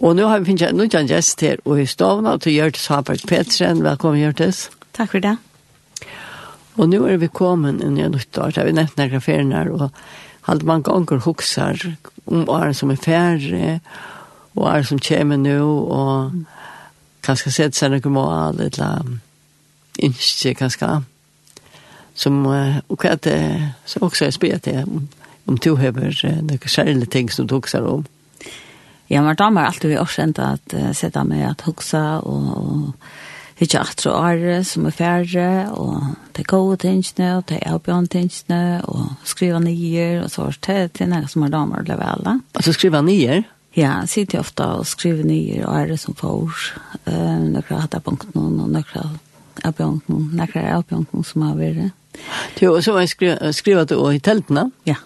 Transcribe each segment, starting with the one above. Och nu har vi finnit en annan gäst här och i staven och till Hjörtis Hapert Petren. Välkommen Hjörtis. Tack för det. Och nu är vi kommen in i en nytt år. Det har vi nämnt några ferier och hade man gånger huxar om åren som är färre och åren som kommer nu och kanske sett sig några mål eller inte kanske som och att det så också är spelet det om, om du har några särskilda eh, ting som du huxar om. Ja, men da var alltid vi årsent at uh, sette meg at huksa og, og ikke atre og are som er færre, og det er gode tingene, og det er avbjørn tingene, og skriva nyer, og så var det til noen som er damer eller vel. Altså skriva nyer? Ja, jeg sitter ofte og skriver nyer og are som får. Uh, Nøkker har hatt avbjørn noen, og nøkker har avbjørn noen, nøkker har avbjørn noen som har vært. Jo, og så var jeg skriva, skriva det i teltene? Ja.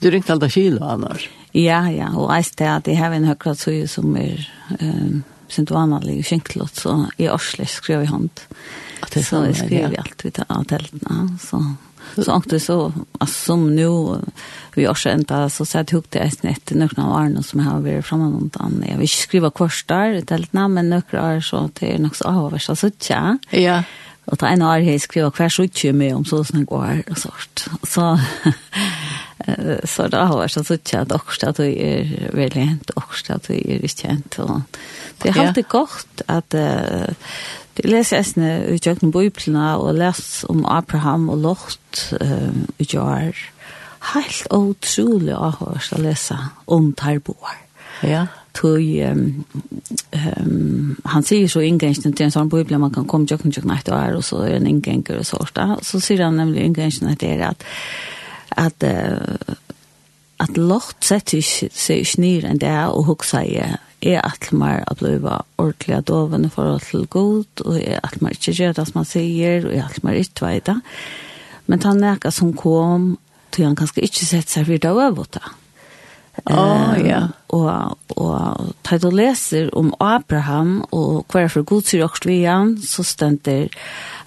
Du ringte alt av kilo annars? Ja, ja, og jeg stedet at jeg har en høyre tøye som er um, sin vanlig skjenklott, så i Oslo skrev jeg hånd. er Så jeg skrev alt ut av teltene, så... Så ångte vi så, altså som nå, vi også eh, enda, så sett hukte jeg snett nøkna av Arne som har vært framme noen annen. Jeg vil ikke skrive kvart der i teltene, men nøkna er så til nok så avhverst av suttja. Ja. Og ta en år her skrive hver suttje med om så sånn går og sånt. Så så det har vært så sutt at også at du er veldig hent, også at du er ikke hent. Det er alltid godt at uh, det leser jeg sånn ut i bøyplene og leser om Abraham og Lort uh, ut i år. Helt utrolig avhørs å lese om Tarboer. Ja. Tog, um, um, han sier så inngrensen til en sånn bøyble man kan komme tjøkken tjøkken etter år, og så er en inngrenger og sånt. Så sier han nemlig inngrensen etter er at at uh, at lort sett seg ikke nyr enn det er, og hun sier, er at man er blevet ordentlig av dovene forhold til god, og er at man ikke gjør det som man sier, og er at man ikke vet det. Men han er ikke som kom, til han kanskje ikke sett seg videre over det. Oh, ja. Og, og da du leser om um Abraham, og hva er for god syr også vi igjen, så stender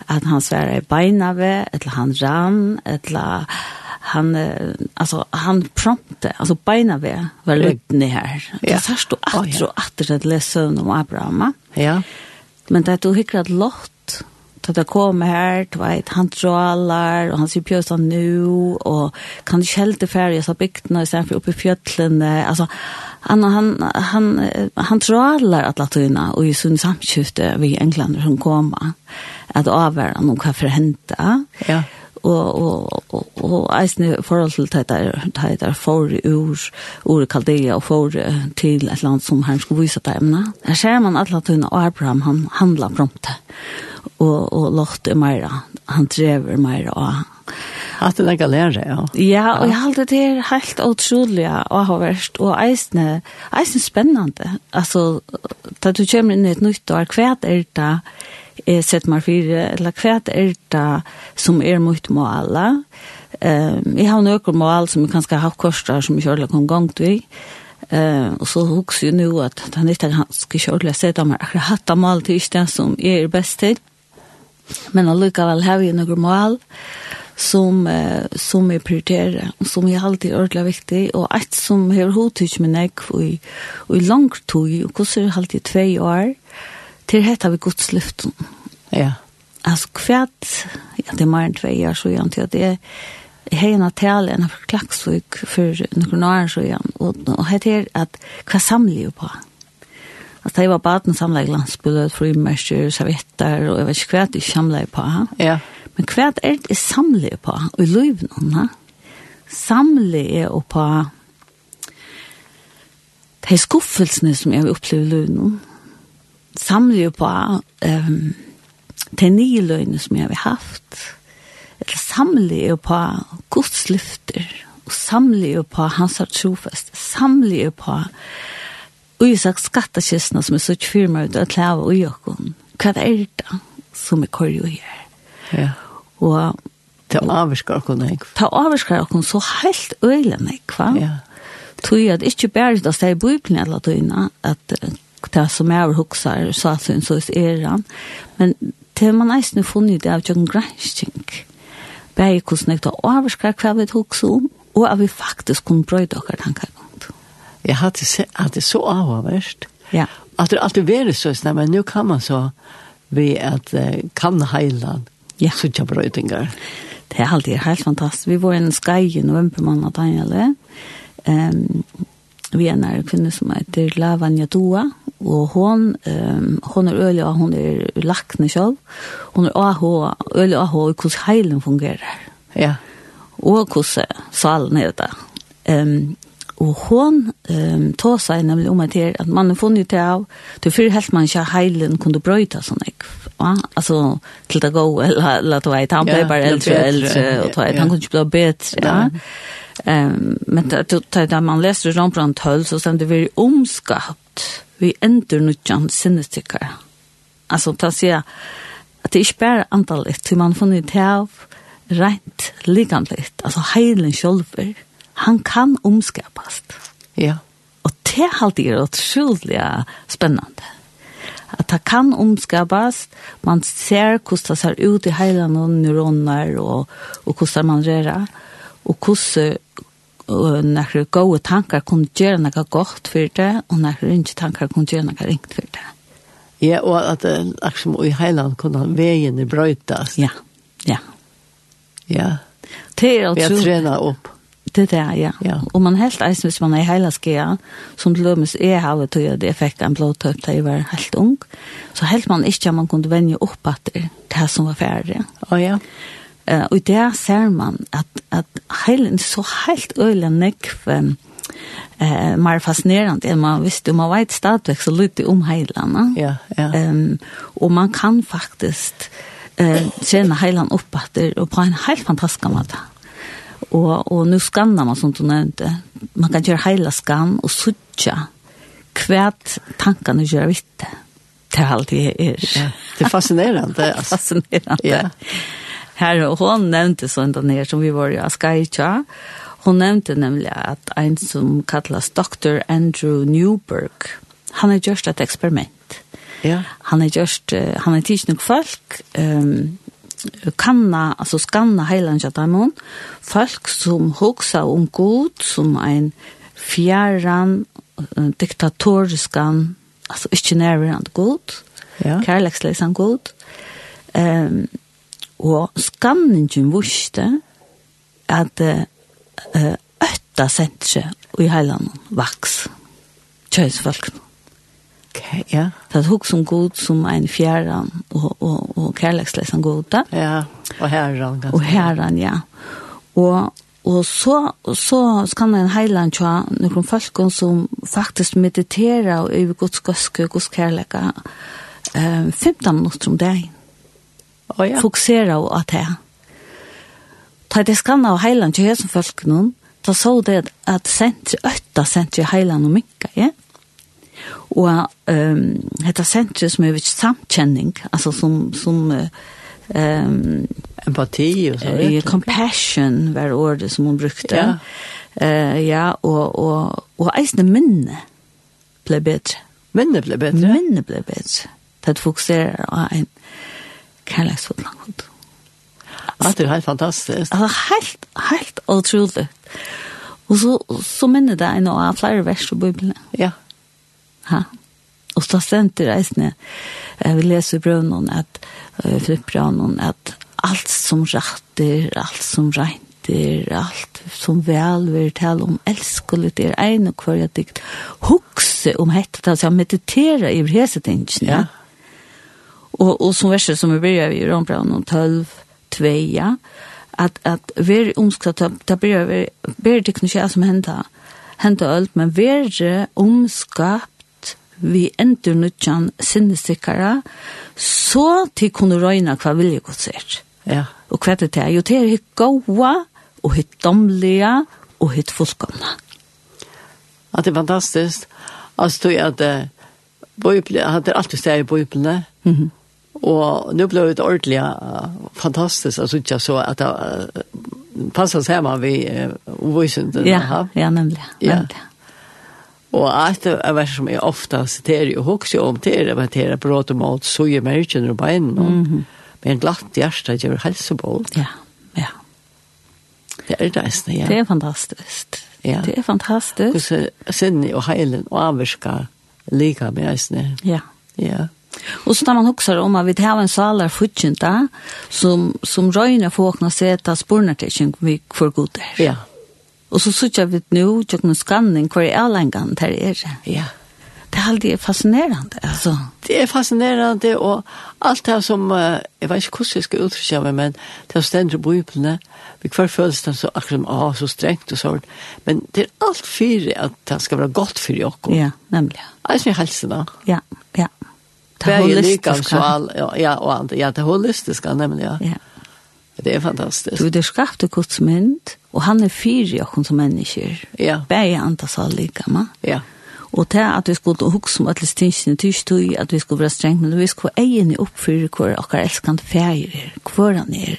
at han sværer i beina ved, eller han rann, eller han eh, alltså han prompte alltså beina ved var lutten her. Ja. Det sørst du Å, atter ja. og atter at lese om Abraham. Ja. Men det er du hikker at lott til det kommer er her, du vet, han trålar, og han sier pjøsa nu, og kan du kjelte ferie av bygdene, i stedet for oppe i fjøtlene, altså, han, han, han, eh, han trålar at latina, og i sunn samskifte vi englander som kommer, at avvære noen hva for hente, Ja. og og og og eisini forhold til tætar tætar for ur ur Kaldea og for til et land som han skulle vise til emna. Her ser man alla tunna og Abraham han handlar prompt. Og og Lot er meira, han drever meira og Hatt det lenge lærer, ja. Ja, og jeg halder det er helt utrolig og har vært, og eisne, eisne spennende. Altså, da du kommer inn i et nytt år, hva er det jeg sett meg fire, eller hva er det som er mot måla? Um, jeg har noen mål som jeg kanskje har hatt korsdag som jeg kjørlig kom gang til. Uh, og så husker jeg nå at den ikke ganske kjørlig sette meg akkurat hatt av mål til ikke det som jeg er best til men allikevel har vi noen mål som, eh, som jeg prioriterer, og som jeg alltid er ordentlig viktig, og et som har hodtid med meg, og i, og i langt tog, og hvordan er det alltid tve år, til dette vi Guds løften. Ja. Altså kvært, ja, det er mer enn tve år, så jeg antar at jeg har en tale enn for klagsvik for noen år, så jeg, og, og hette er at hva samler jeg på? Altså, jeg var baden samlet glansbullet, frimersker, servietter, og jeg vet ikke hva jeg samler på. Ja. Ja. Men hva er det jeg samler på i løyvnene? Samler jeg jo på de skuffelsene som jeg har opplevd i løyvnene. Samler jeg på um, de nye løyvnene som jeg har haft. Eller samler jeg på godsløfter. Og samler jeg på hans har trofest. Samler jeg på og jeg sagt skattekistene som er så ikke firma ut av klæve og jokken. Hva er det som jeg kører jo her? Ja. Og Det er avskar kunne jeg. ta avskar okkur så helt øylen, ikke va? Ja. Tui at ikke bare det steg i Bibelen eller tøyna, at eh, det som jeg overhuksar, så at hun så er han. Men det har man eisen funnet det av John Gransking. Bare hvordan jeg ta avskar hva vi huksa om, og at vi faktisk kunne brøyde okkar tankar um om det. er Jeg hadde, se, hadde så avhverst. Ja. Att det alltid varit så snabbt, men nu kan man så vi att eh, kan heila Ja. så tja brötingar. Det är alltid helt fantastiskt. Vi var i en skaj i november månad, Daniel. Um, vi är en kvinna som heter Lavanya Dua, og hon, um, hon er øyla, hon er lakne sjálf, hon er AH, øyla AH, og hvordan heilen fungerer, Ja. og hvordan salen er det. Um, og hon um, tog seg nemlig om at, her, at man har funnet det av, det er fyrir helt man ikke heilen kunne brøyta sånn, ikke? Ja? Altså, til det gå, eller, eller du vet, han ble Ja, bare til eldre betre. og eldre, og du vet, Ja. han kunne ikke bli bedre, ja? Nei. Ehm men det det- det där man läser Rembrandt höll så sen det blir omskapt. Vi ändrar nu jan sinnestickar. Alltså ta se att det är spär antalet till man funnit det av rent likamligt. Alltså heilen själv han kan omskapas. Ja. Och det har alltid är otroligt spännande. Att det kan omskapas, man ser hur det ser ut i heilan och neuroner och, och hur det man rör. Och hur og nokre gode tankar kunne gjøre noe godt for det, og nokre ikke tankar kunne gjøre noe ringt for det. Ja, og at eh, liksom i heiland kunne veien i brøytas. Ja, ja. Ja. Det er Vi har utroligt. trena opp. Det der, ja. Ja. Og man helt eisen hvis man er i hele skea, som til lømmes er havet til at jeg fikk en blåtøp da jeg var helt ung, så helt man ikke at man kunne vende opp at det, det som var ferdig. Å ja. Eh, og i det ser man at, at heilen er så helt øyelig nekv eh, mer fascinerende enn man visste. Man vet stadigvæk så lite om heilene. Ja, ja. Ehm, og man kan faktisk eh, trene heilen opp etter og på en helt fantastisk måte. Og, og nå skanner man som du nevnte. Man kan gjøre heila skann og sutja hva tankene gjør vitt det. Det er alt det er. Ja. Det er fascinerende, altså. Fascinerende. Ja. Her, og hun nevnte sånn der nere som vi var i Askaitja. Hun nevnte nemlig at en som kallas Dr. Andrew Newberg, han har gjort et eksperiment. Ja. Han har gjort, eh, han har tidsk nok folk, um, kanna, altså skanna heilan kjattamon, folk som hoksa om god, som ein fjärran, eh, diktatoriskan, altså ikke nærværende god, Ja. kærlekslesan god, um, og skanningen vurste at eh, eh, øtta sentre i heilan vaks, kjøysfolkene. Okay, ja. Så att hugg som god som en fjärran och, och, och kärleksläsan goda. Ja. Og herran ganske. Och herran, ja. Och, och så, så ska man en heiland tja några folk som faktiskt mediterar och över Guds göske och Guds kärleka. Eh, 15 minuter om dagen. Å ja. Fokusera och att det. Ta det skanna av heiland tja som folk någon. Ta så det att centri, ötta centri heiland och mycket, ja. Og um, hetta sentri som er vitt samkjenning, altså som, som um, Empati og så. uh, compassion var ordet som hun brukte. Ja. Eh, ja, og, og, og eisne minne ble bedre. Minne ble bedre. Minne ble bedre. Det fokuserer av en kærleksfull langkod. Ja, det er helt fantastisk. Altså, helt, helt utrolig. Og så, så minner det en av flere vers i Bibelen. Ja. Ja. Og så stendte reisende, eh, vi leser i brønnen at, eh, Filippbrønnen, at alt som ratter, alt som reinter, alt som vel vil tale om elskelig, det er en og hver jeg dikt, hukse om hette, altså jeg mediterer i hesetingene. Ja. Og, og som verset som vi börjar i Rombrand 12, 2, ja, at, at ver omskatt, da börjar vi, ber det kunne skje som henta, henta alt, men ver omskapt, vi ender nødjan sinnestikkara, så til kunne røyna hva vilje godt ser. Ja. Og hva det er, jo det er hitt gåa, og hitt domlige, og hitt fullkomna. Ja, det er fantastisk. Altså, du at eh, Bibelen, han er alltid steg i Bibelen. Og nå ble det ordentlig eh, fantastisk, altså ikke så at det eh, passer sammen vi eh, voisende. Ja, ja, nemlig. Ja. nemlig. Og at det er vers som jeg ofte siterer og hokser om til det, men det er brått om alt så i merken og beinen. Mm -hmm. Men glatt hjerte gjør helsebål. Ja, ja. Det er det nesten, ja. Det er fantastisk. Ja. Det er fantastisk. Hvordan sinne og heilen og avvirka lika med eisne. Ja. Ja. Och så när man um huxar om att vi har en salar futjenta som som röjna fåkna sätta spurnar till kring vi för god där. Ja. Och så söker vi nu jag en skanning kvar i allangan där är. Ja. Det är alltid fascinerande alltså. Det er fascinerande og alt det som, eh, jeg vet ikke hvordan jeg skal uttrykke meg, men det er stendt i bøyblene, vi hver føles det så akkurat som, ah, så strengt og sånn, men det er alt fyrir at det skal være godt for dere. Ja, nämligen. Jeg synes helst da. Ja, ja. Det er jo lika holistiska. sval, ja, ja, og andre, ja, det er holistiske, nemlig, ja. Ja. Det er fantastisk. Du det skapte Guds mynd, og han er fyr i oss som mennesker. Ja. Begge antas av lika, man. Ja, Og til at vi skulle huske om alle stinsene tystøy, at vi skulle være strengt, men vi skulle egen oppfyre hvor okkar elskende fæger er, hvor han er.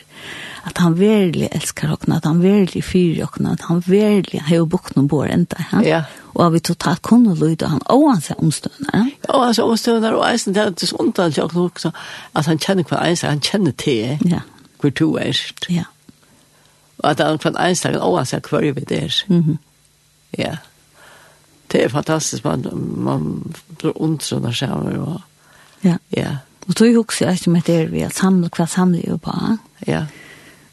At han virkelig elskar okkene, at han virkelig fyrer okkene, at han virkelig har jo bukt noen bor enda. Ja? Ja. Og at vi totalt kunne lyde han, og han ser omstående. Ja? og altså omstøvner og eisen, det er det som undantlig også, at han kjenner hver eneste, han kjenner til Ja, hvor du er, ja. og er at han hver eneste, han oansett hver vi det er. Mm Ja. Det er fantastisk, man, man blir ondtrunner seg over, og ja. ja, Og tog husker jeg ikke med det er vi, at samle, hva samler jo på, ja? ja,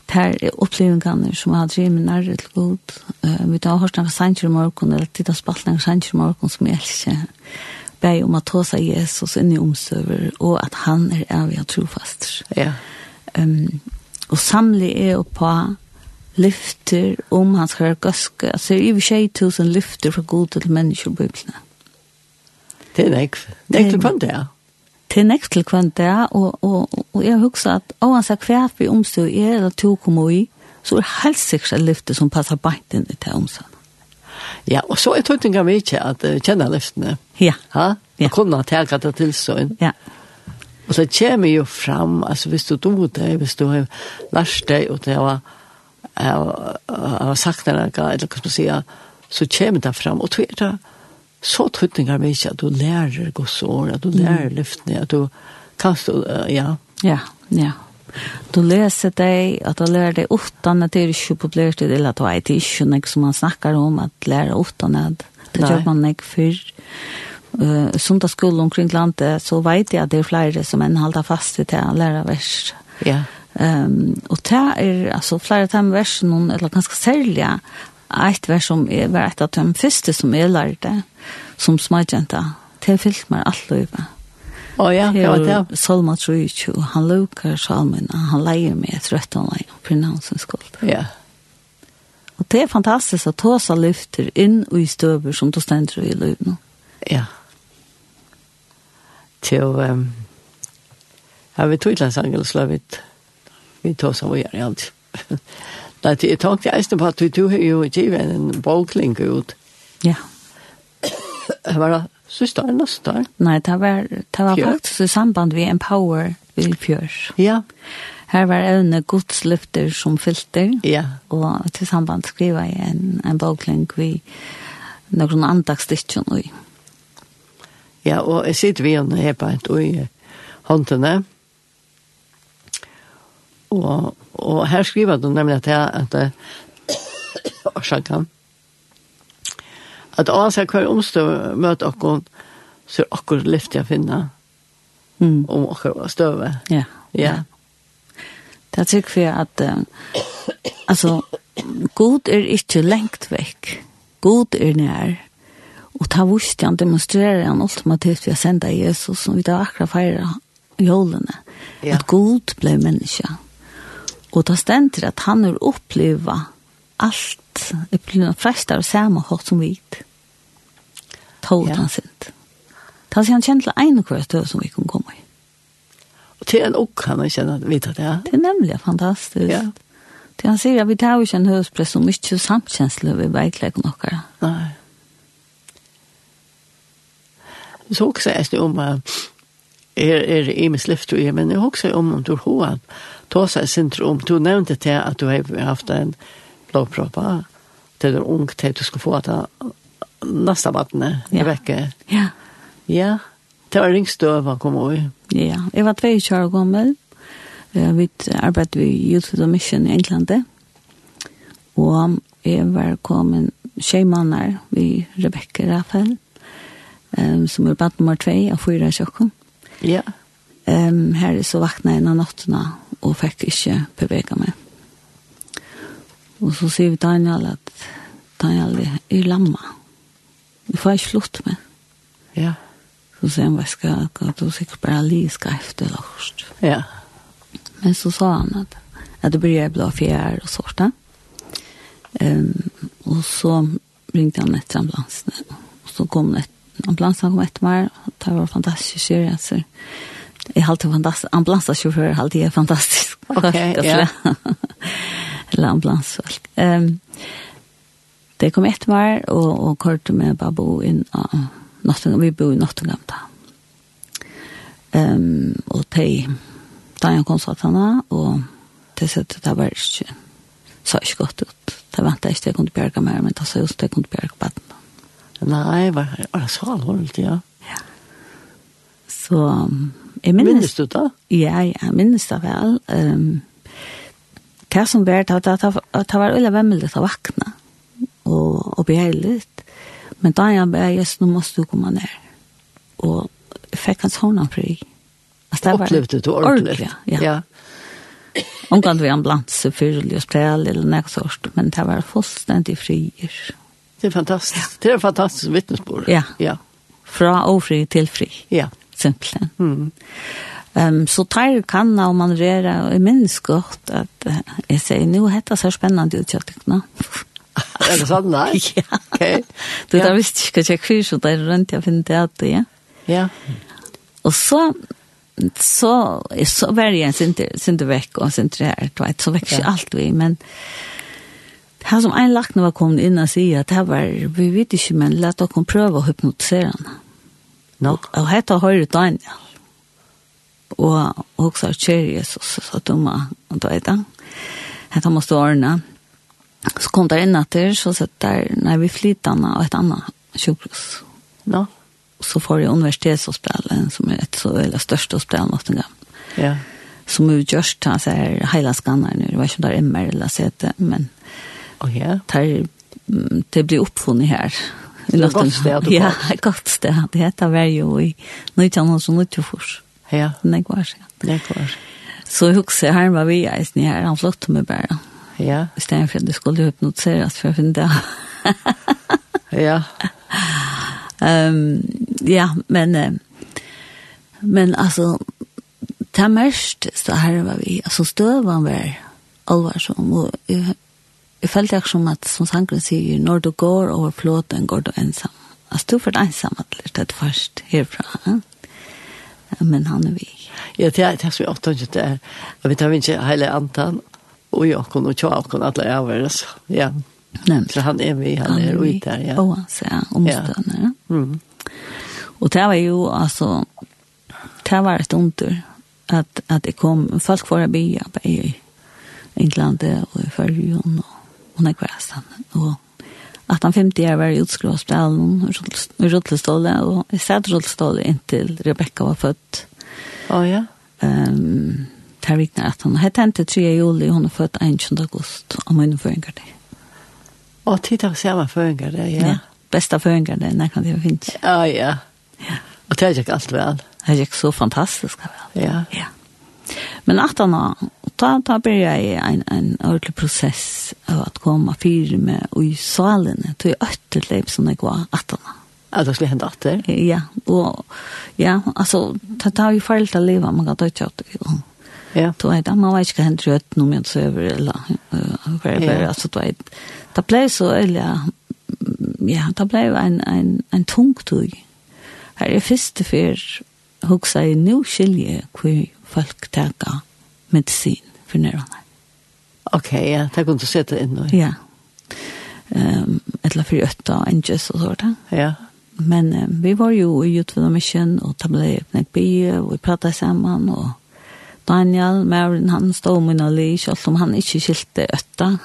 ter opplevingene som jeg har drevet med nærre til god. Eh, Vi har hørt noen sanger i morgen, eller tid av spaltene av sanger i morgen som jeg elsker. Beg om at ta seg Jesus inn i omstøver, og at han er evig og trofast. ja, Um, og samle er jo på lyfter om han skal være gøske. Altså, det er over 20 000 lyfter fra god til mennesker i Bibelen. det er nekv. Nekv Det- kan det, ja. til nekst til kvendt det, og, og, og jeg husker at oansett hva vi omstår er, eller to kommer i, så er det helt sikkert en lyfte som passer beint inn i det omstående. Ja, og så er tøytinga vi ikke at uh, kjenne lyftene. Ja, Ha? Ja. Ja. Kunne teka det til sånn. ja, Og så kommer jo fram, altså hvis du dog det, hvis du har lært deg, og det var, jeg har sagt det noe, eller hva skal man sige, så kommer det fram, og du er det så tøytinga vi ikke at du lærer gods år, at du lærer lyftene, at du kan stå, eh, ja, ja, ja. Du leser deg, at du lærer deg utan at det er ikke populært, eller at du er det ikke noe som man snakker om, at lære utan at det Nei. gjør man ikke før. Uh, Sundagsskolen omkring landet, så vet jeg at det er flere som enn halter fast i det, lærer verst. ja, Ehm og det er altså flere av de versene, eller ganske særlige, et vers som er, var et av de første som jeg lærte, som smagjenta, det er fyllt meg alt løyve. Å ja, det var det. er Salma 22, han luker salmene, han leier meg et rødt og leier på navnsens skuld. Ja, Og det er fantastisk at Tåsa lyfter inn og i støver som du stender i løyve nå. ja. Til, um, ja, vi tog til sangen, så la vi t- vi tog som vi gjør i alt. Nei, til- jeg tenkte eisen på at du- du har jo givet en bokling ut. Ja. Det var da søster, nøster. Nei, det var, det var Fjør. faktisk i samband med Empower i fjør. Ja, Her var evne godslyfter som filter. ja, og til samband skriva jeg en, en boklink vi noen andagsdikken og ja, og jeg sitter vi henne her på et ui eh, håndene. Og, og her skriver du nemlig at jeg, at eh, årsaken, at oavsett hver omstå møter okkon, så er okkur lyft jeg finna mm. om okkur var støve. ja. Ja, Det er sikkert for at eh, altså, god er ikke lengt vekk. God er nær. Og ta vurst han demonstrerer han ultimativt ved å sende Jesus som vi da akkurat feirer jolene. Ja. At god ble menneske. Og da stender at han er oppleva alt, oppleva frest av samme hatt som vit. Tålet Ja. han sint. Ta seg han kjent til en og hver støv som vi kan komme i. og til en okk kan jeg kjenne at vite det. Det er nemlig fantastisk. Ja. Det er han sier at vi tar jo ikke en høyspress og mye samkjensle ved veikleggen dere. Nei. Så också är det om eh, er er i min släft och er, men jag också om om du har att ta sig centrum om du nämnde till att du har haft en blodproppa till den ung till att du ska få att ha nästa vattnet Ja. i veckan. Ja. Ja. Det var ringstöva kom ihåg. Ja, jeg var 22 år gammel. Eh, Vi arbeidde ved Youth with a Mission i Englandet. Og jeg var kommet tjej mannar ved Rebecca Raffel. um, som er bad nummer 2 av fyra kjøkken. Ja. Um, her så vakna jeg en av nattene og fikk ikke bevega meg. Og så sier vi Daniel at Daniel er i lamma. Vi får ikke slutt med. Ja. Så sier han, hva skal jeg, du sikkert bare li skal efter lørst. Ja. Men så sa han at, at det blir blå fjær og sånt. Um, og så ringte han etter ambulansen. Og så kom det, ambulansen kom etter meg. og Det var fantastisk kjør. Altså. Jeg halte fantastisk. Ambulansasjåfører halte jeg fantastisk. Ok, ja. Eller ambulansfolk. Um, det kom etter meg, og, og kørte med Babo inn av Nottingham. Vi bor i Nottingham da. Um, og de, da jeg kom satt henne, og det sette det var ikke, så ikke godt ut. Det ventet ikke, jeg kunne bjerge mer, men det sa just det jeg kunne bjerge badene. Nei, var det så alvorlig, ja. Ja. Så um, jeg minnes, Minnes du det? Ja, jeg minnes det vel. Um, det som var, det, det, det, det var veldig vemmelig å vakne, og, og behjellig. Men da jeg bare, just nå måtte du komme ned. Og jeg fikk hans hånden fri. Altså, det var- Opplevde du ordentligt? ja. ja. ja. Omgang vi ambulanse, fyrlig og sprel eller noe sånt, men det var fullstendig frier. Det er fantastisk. Det er fantastisk vittnesbord. Ja. Ja. Fra ofri til fri, Ja. simpelthen. Mm. Um, så tar kan og man rører, og jeg minnes godt at eh, jeg sier, nå heter det så spennende utkjøttene. Er det sant? Nei. Ja. Ok. Du, Ja. da visste ikke hva jeg kvar, så det er rundt jeg finner det at det, ja. Ja. Og så, så, så var jeg en sinter, sinter vekk og sinter her, du vet, så vekk ikke Ja. alt vi, men her som en lakne var kommet inn og sier at her var, vi vet ikke, men la dere prøve å hypnotisere henne. Nå. Og hette høyre Daniel. Og også er kjær Jesus, så du må, du vet det. Hette måste ordne. Så kom der inn etter, så satt der, nei, vi flyttet henne og et annet sjukhus. Nå. Så får jeg universitetshospitalen, som er et så veldig største hospital noen gang. Ja. Som er gjørst, han sier, heila skanner nu, det var ikke om det er MR eller CT, men Å ja. tar mm, det blir uppfunnet her. Det er et godt sted at du Ja, kom. et godt sted. Det heter var jo i 1994. Ja. Nei, hva er det? Det er klart. Så jeg husker her var vi i sni her, han flott med bare. Ja. I stedet for at det skulle hypnotiseres for å finne det. Ja. Um, ja, men, eh, men altså, det er mest, så her var vi, altså støvann var alvarsom, og jeg, jeg følte ikke som at, som sangren sier, når du går over flåten, går du ensam. Altså, du får ensam at det er først herfra, ja? men han er vi. Ja, det er det som jeg ofte ikke det er. Og vi tar ikke hele antan. Og jeg kan og tja og alle er over oss. Ja. Nei, Så han er vi, han er ute her, ja. Og han sier, omstående, ja. Mm. Og det var jo, altså, det var et under at, at det kom, folk var bia på i Englandet og i Førjun og, og Nekvæsen. Og at han 50 år var i utskråspillen i Rottlestålet, og jeg satt Rottlestålet inntil Rebecca var født. Å ja. Um, det vikner at han hette henne til 3. juli, hun er født 21. august, om hun føringer det. Å, tid av samme føringer det, er, ja. Besta føringer det, når kan det finnes. Å ja. Og det er ikke alt vel. Det gikk så fantastisk vel. Ja. Ja. Men att han har, da, da blir jeg i en, en ordentlig prosess av at komme fire med og i salene, til øtterleip som jeg var at han har. At det skulle hende atter. Ja, og ja, altså, det tar jo feil til livet, man kan ta ikke at det. Ja. Du vet, man vet ikke hva hender rødt når man søver, eller øh, hva er det, Ja. altså, du vet. Det ble så, eller, mm, ja, det ble jo en, en, en tung tog. Her er første fyr, hoksa i nå skilje hvor folk teka medisin for nærmere. Ok, ja. Det kunne du sette inn nå. Ja. Um, eller for øtta og enges og sånt. Ja. Ja. Men eh, vi var jo i Utvidda Mission og tablade upp när vi och vi pratade samman och Daniel, Maurin, han stod med en li, selv om han ikke skilte øtta.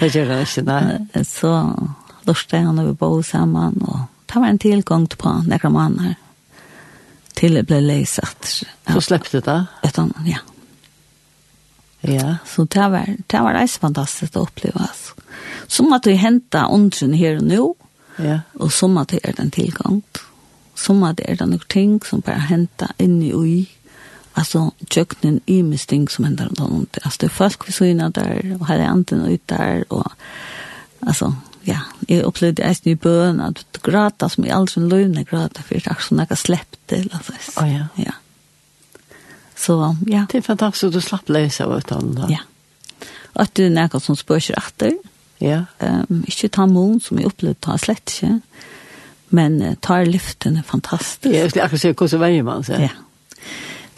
Det gjør han ikke, nei. så lørte han og vi bo sammen, og det var en tilgang på noen måneder til det ble leisatt. Så släppte det. Øtta, ja. Ja. Så det var, det var reis fantastisk å oppleve. Altså. Som at vi hentet ånden her og nå, Ja. og som at det er den tilgang. som at det er det noen ting som bare henter inn i ui, altså tjøkkenen i mest ting som henter noen ting. Altså det er folk vi så inne der, og her er anten ut der, og altså, ja, jeg opplevde eisen i bøen at du gråter som jeg aldri løvne gråter, for det er sånn at jeg slepp til, altså. Å, ja. Ja. Så, ja. Det er fantastisk at du slapp løse av utan da. Ja. Og at det er noe som spør seg etter, Ja. Um, ikke ta mån som jeg opplevde ta slett ikke, men uh, tar lyften er fantastisk. Jeg skulle akkurat se hvordan veier man seg. Ja.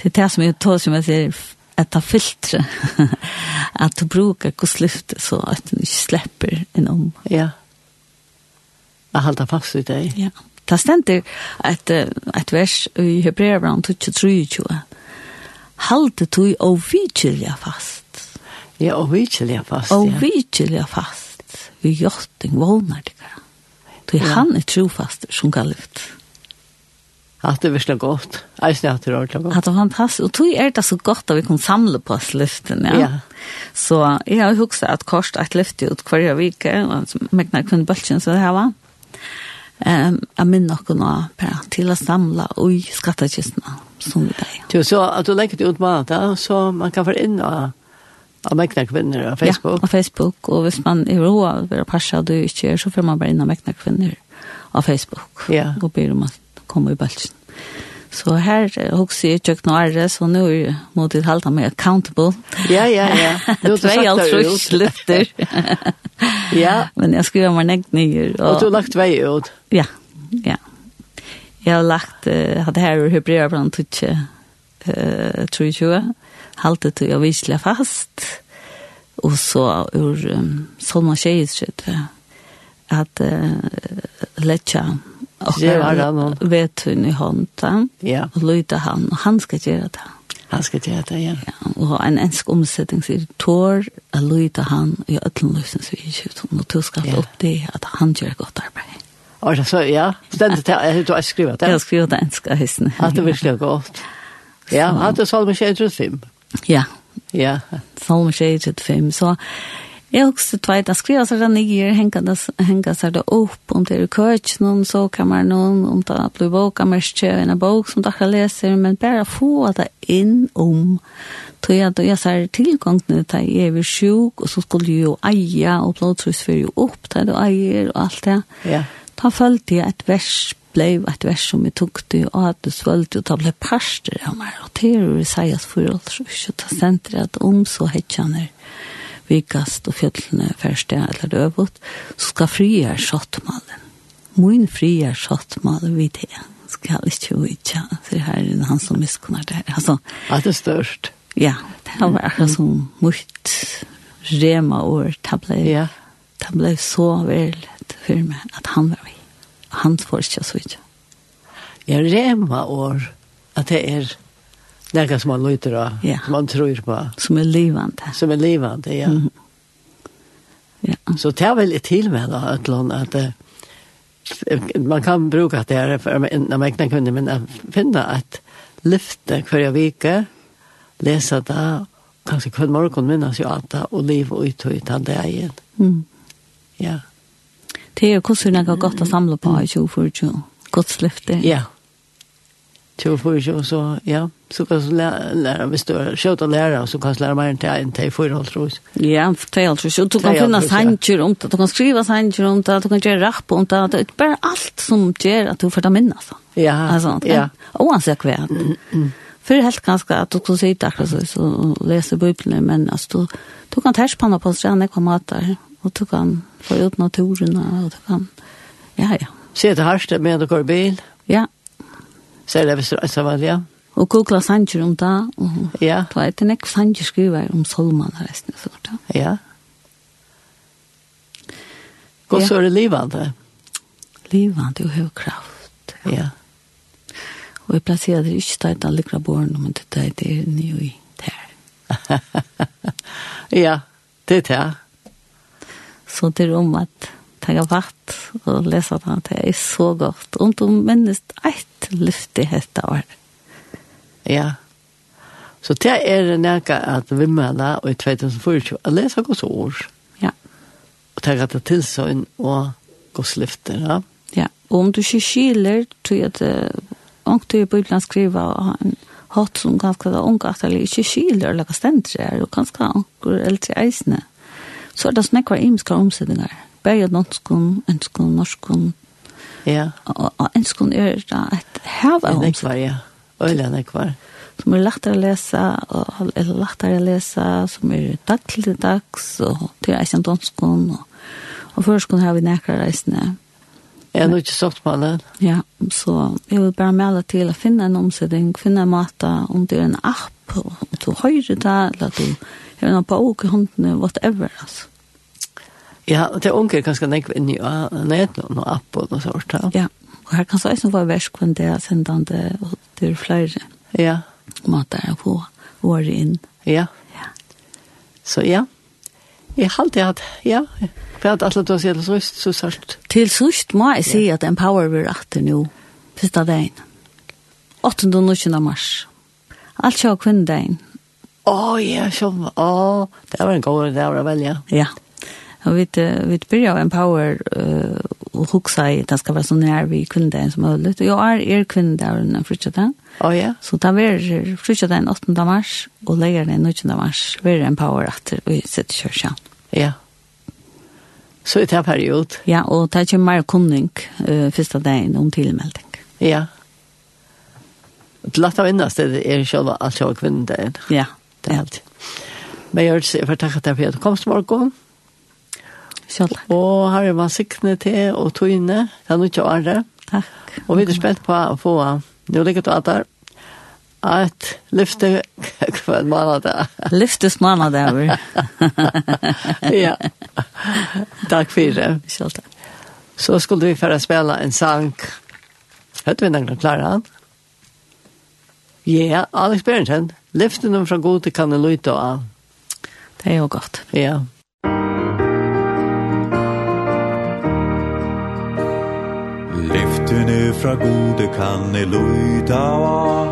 Det er det som jeg tar som jeg sier, at ta filtre, at du bruker hvordan lyfte så at du ikke slipper en om. Ja. Jeg halter fast i deg. Ja. Det stender et, eh, et vers i Hebreabran 23, Halte du og vidkjelja fast. Ja, og vi ikke lever fast. Og ja. vidkjelja fast. Vi gjøtting vågnar det gara. Du Ja. han er trofast som kan lyfte. At det virkelig er godt. Jeg synes at det er ordentlig godt. At det var fantastisk. Og tog er det så godt at vi kunne samle på oss lyften, ja. Ja. Så jeg har hukset at kost et lyft ut hver vike, og megnar kun bølgen som det her var. Um, jeg minner noe nå per, til å samle i skattekistene, som vi er. deg. Jo, så at du legger det ut mat, ja, så man kan få inn av, av mekne kvinner av Facebook. Ja, på Facebook. Og hvis man er rå av å passe at du ikke er, så får man bare inn og mekne kvinner av Facebook. Ja. Og ber om at komme i bølgen. Så her eh, hukser jeg tjøkken og ære, så nå er jeg mot til halta meg accountable. Ja, ja, ja. Nå har du Tvei sagt alt det trus ut. lyfter. Ja, Men jeg skriver meg nekt nye. og du har lagt vei ut. Ja, ja. Jeg har lagt, uh, hadde her i Hebrea blant tutsi, uh, 23, halte til jeg visle fast, og så ur um, Solma Kjeis, at uh, letja Geva han. vetun i hånda, Ja, og lyda han, og han skal gjøre det. han skal til dette, ja. Ja, og en ensk omsetning sier, tår, a lyda han, i øtlen løsens vi kjøpt, er og du skal Ja. opp det, at han gjør godt arbeid. Og så, ja, stendet til, jeg tror jeg skriver Jeg det. har skrivet det enska hyssen. At det virkelig er godt. Ja, at det salmer 25. Ja, Ja, Salmer 25. Så jeg har også tveit, jeg skriver seg det nye, henga seg det opp, om det er køk, noen såkammer, noen, om det blir bok, om det er en bok som dere leser, men bare få det inn om, tror jeg at jeg ser tilgang til det, jeg er sjuk, og så skulle jeg jo eie, og blodtrus fyrir jo opp, det du eier, og alt det. ja, Da følte jeg et vers blev et vers som jeg tok det, og at det svølte, og da ble parster av meg, og til å si at for alt så ikke ta senter at om så hetsjaner vikast og fjøtlene først det eller døvot, så skal frier skjottmalen. Min frier skjottmalen vid det. Skal ikke vitja, for her er han som miskunner det. Altså, at det er størst. ja, det var akkurat som mot rema år, det ble Ja, det ble så veldig for meg at han var vi. Og han får ikke så ikke. jeg remmer år at det er noe som man lytter av, Ja. som man tror på, Som er livende. som er livende, ja. Mhm. Ja. Så det er vel til med da, et eller annet, at eh, man kan bruke det her for en mekne kvinner, men jeg finner at lyfte hver vike, lese det, kanskje hver morgen minnes jo alt det, og liv og uttøy til det igjen. Mm. Ja, Det er jo hvordan det er godt å samle på i 2024. Godt slifte. ja. Til for ikke, og så, ja, så kan du lære, lære hvis du er skjøt å lære, og så kan du lære mer enn til en til i forhold, tror jeg. Ja, det er alt for seg. Du kan Det er alt finne for seg. sanger om det, du kan skrive sanger om det, du kan gjøre rapp om det. Det er bare alt som gjør at du får det minnes. da. Ja, Alltså, ja, ja. oansett hva. För helt ganska att du skulle sitta akkurat så, så läser bibeln, men alltså, du, du kan tärspanna på stranden, jag kommer att där, och du kan få ut naturen, och du kan, ja, ja, se til Harstad med å gå i bil, ja, så er det hvis du er sammen, ja, och googla sanger om det, och ja, ta ett en ek sanger skriver om Solman och resten av sånt. ja. ja. Og så er det livende, Livande och högkraft. ja. Och jag placerar det inte där utan lyckra barn, men det där det är nio i där. Ja, det er det. Så det er om at tenke vatt og lese det, det er så godt. Om du minnes eit lyft i dette år. Ja. Så det er noe at vi mener, og i 2024, å lese Guds ord, Ja, og tenke at det er tilsøgn og Guds lyfter, ja. Ja, og om du ikke skiler, tror jeg at eh, ångte i Bibelen skriver en hatt som ganske da ångte at jeg ikke skiler, eller hva stendere er, og ganske ångte eldre eisene. Så er det sånn ekvar imiske omsetninger. Bæg av norskun, enskun, norskun, Ja, og enskun er da et hav av en omsetninger. ekvar, ja. Øyland ekvar. Som er lagt å lese, og eller lagt å lese, som er dag til dags, og til eisen danskun, og, og førskun har vi nekker reisene. Jeg har nå ikke sagt på det. Ja, så jeg vil bare melde til å finne en omsetning, finne en måte, om det er en app, og om du hører det, eller du har en bok i hånden, whatever, altså. Ja, og det er unger ganske nekve inn i ja, nett og noe app og noe sånt. Ja. Ja, og her kan så også være versk hvem det er sendende, og det er flere Ja, måter å få året inn. ja. Ja. Så ja. Jeg har alltid hatt, ja. For at alle du har sett så så sart. Til sørst må jeg si at Empower vil rette nå, første dagen. 8. og 19. mars. Alt kjører kvinnedagen. Å, ja, sånn. Å, det var en god, det var vel, ja. Ja. Og vi eh, vi börjar av empower eh, och huxa i att det ska vara så nära vi kvinnodagen som möjligt. Och jag är er kvinnodagen den fruktaden. Å, ja. Så det är fruktaden 8 mars och lägger den 19 mars. Vi är empower att vi sitter i kyrkan. Ja. Så i det her period. Ja, och det kommer mer kunning eh, första dagen om tillmelding. Ja. Det lagt av innast, det er selv alt jeg har kvinnen der. Ja, Det er alt. Men jeg vil si, for takk at jeg fikk kom til morgen, Kjalla. og her er man siktene til og togene, det er noe ikke året. Tack. Og vi er spent på å få, nå ligger det at der, at lyfte hver måned. Lyftes månad över. Ja. Takk for det. Kjalla. Så skulle vi føre spela en sang. Hørte vi noen klare han? Ja, Alex Berensen. Lyften dem fra god til kan det lytte av. Det är ju gott. Ja. Lyftene fra gode kan i luida va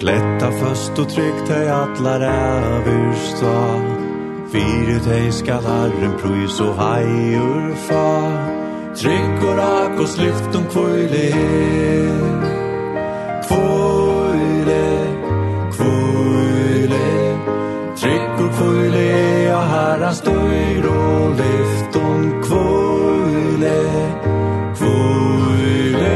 Kletta først og trygg teg atlar æver sta Fyre teg skal herren prøys og heier fa Trygg og rak og um slyft om kvøyle Kvøyle, kvøyle Trygg og kvøyle og herren støyr og lyft um om kvøyle Kvøyle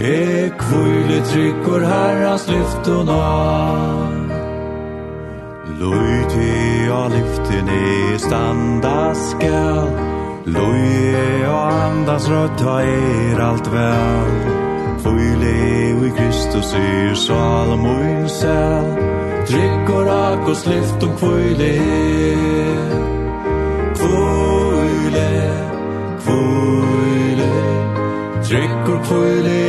Ek kvile trykker herras lyften av Løy til av lyften i standa skal Løy og andas rødta er alt vel Kvile i Kristus er salmoin sel Trykker ak og slift om kvile Kvile, kvile Trygg og kvile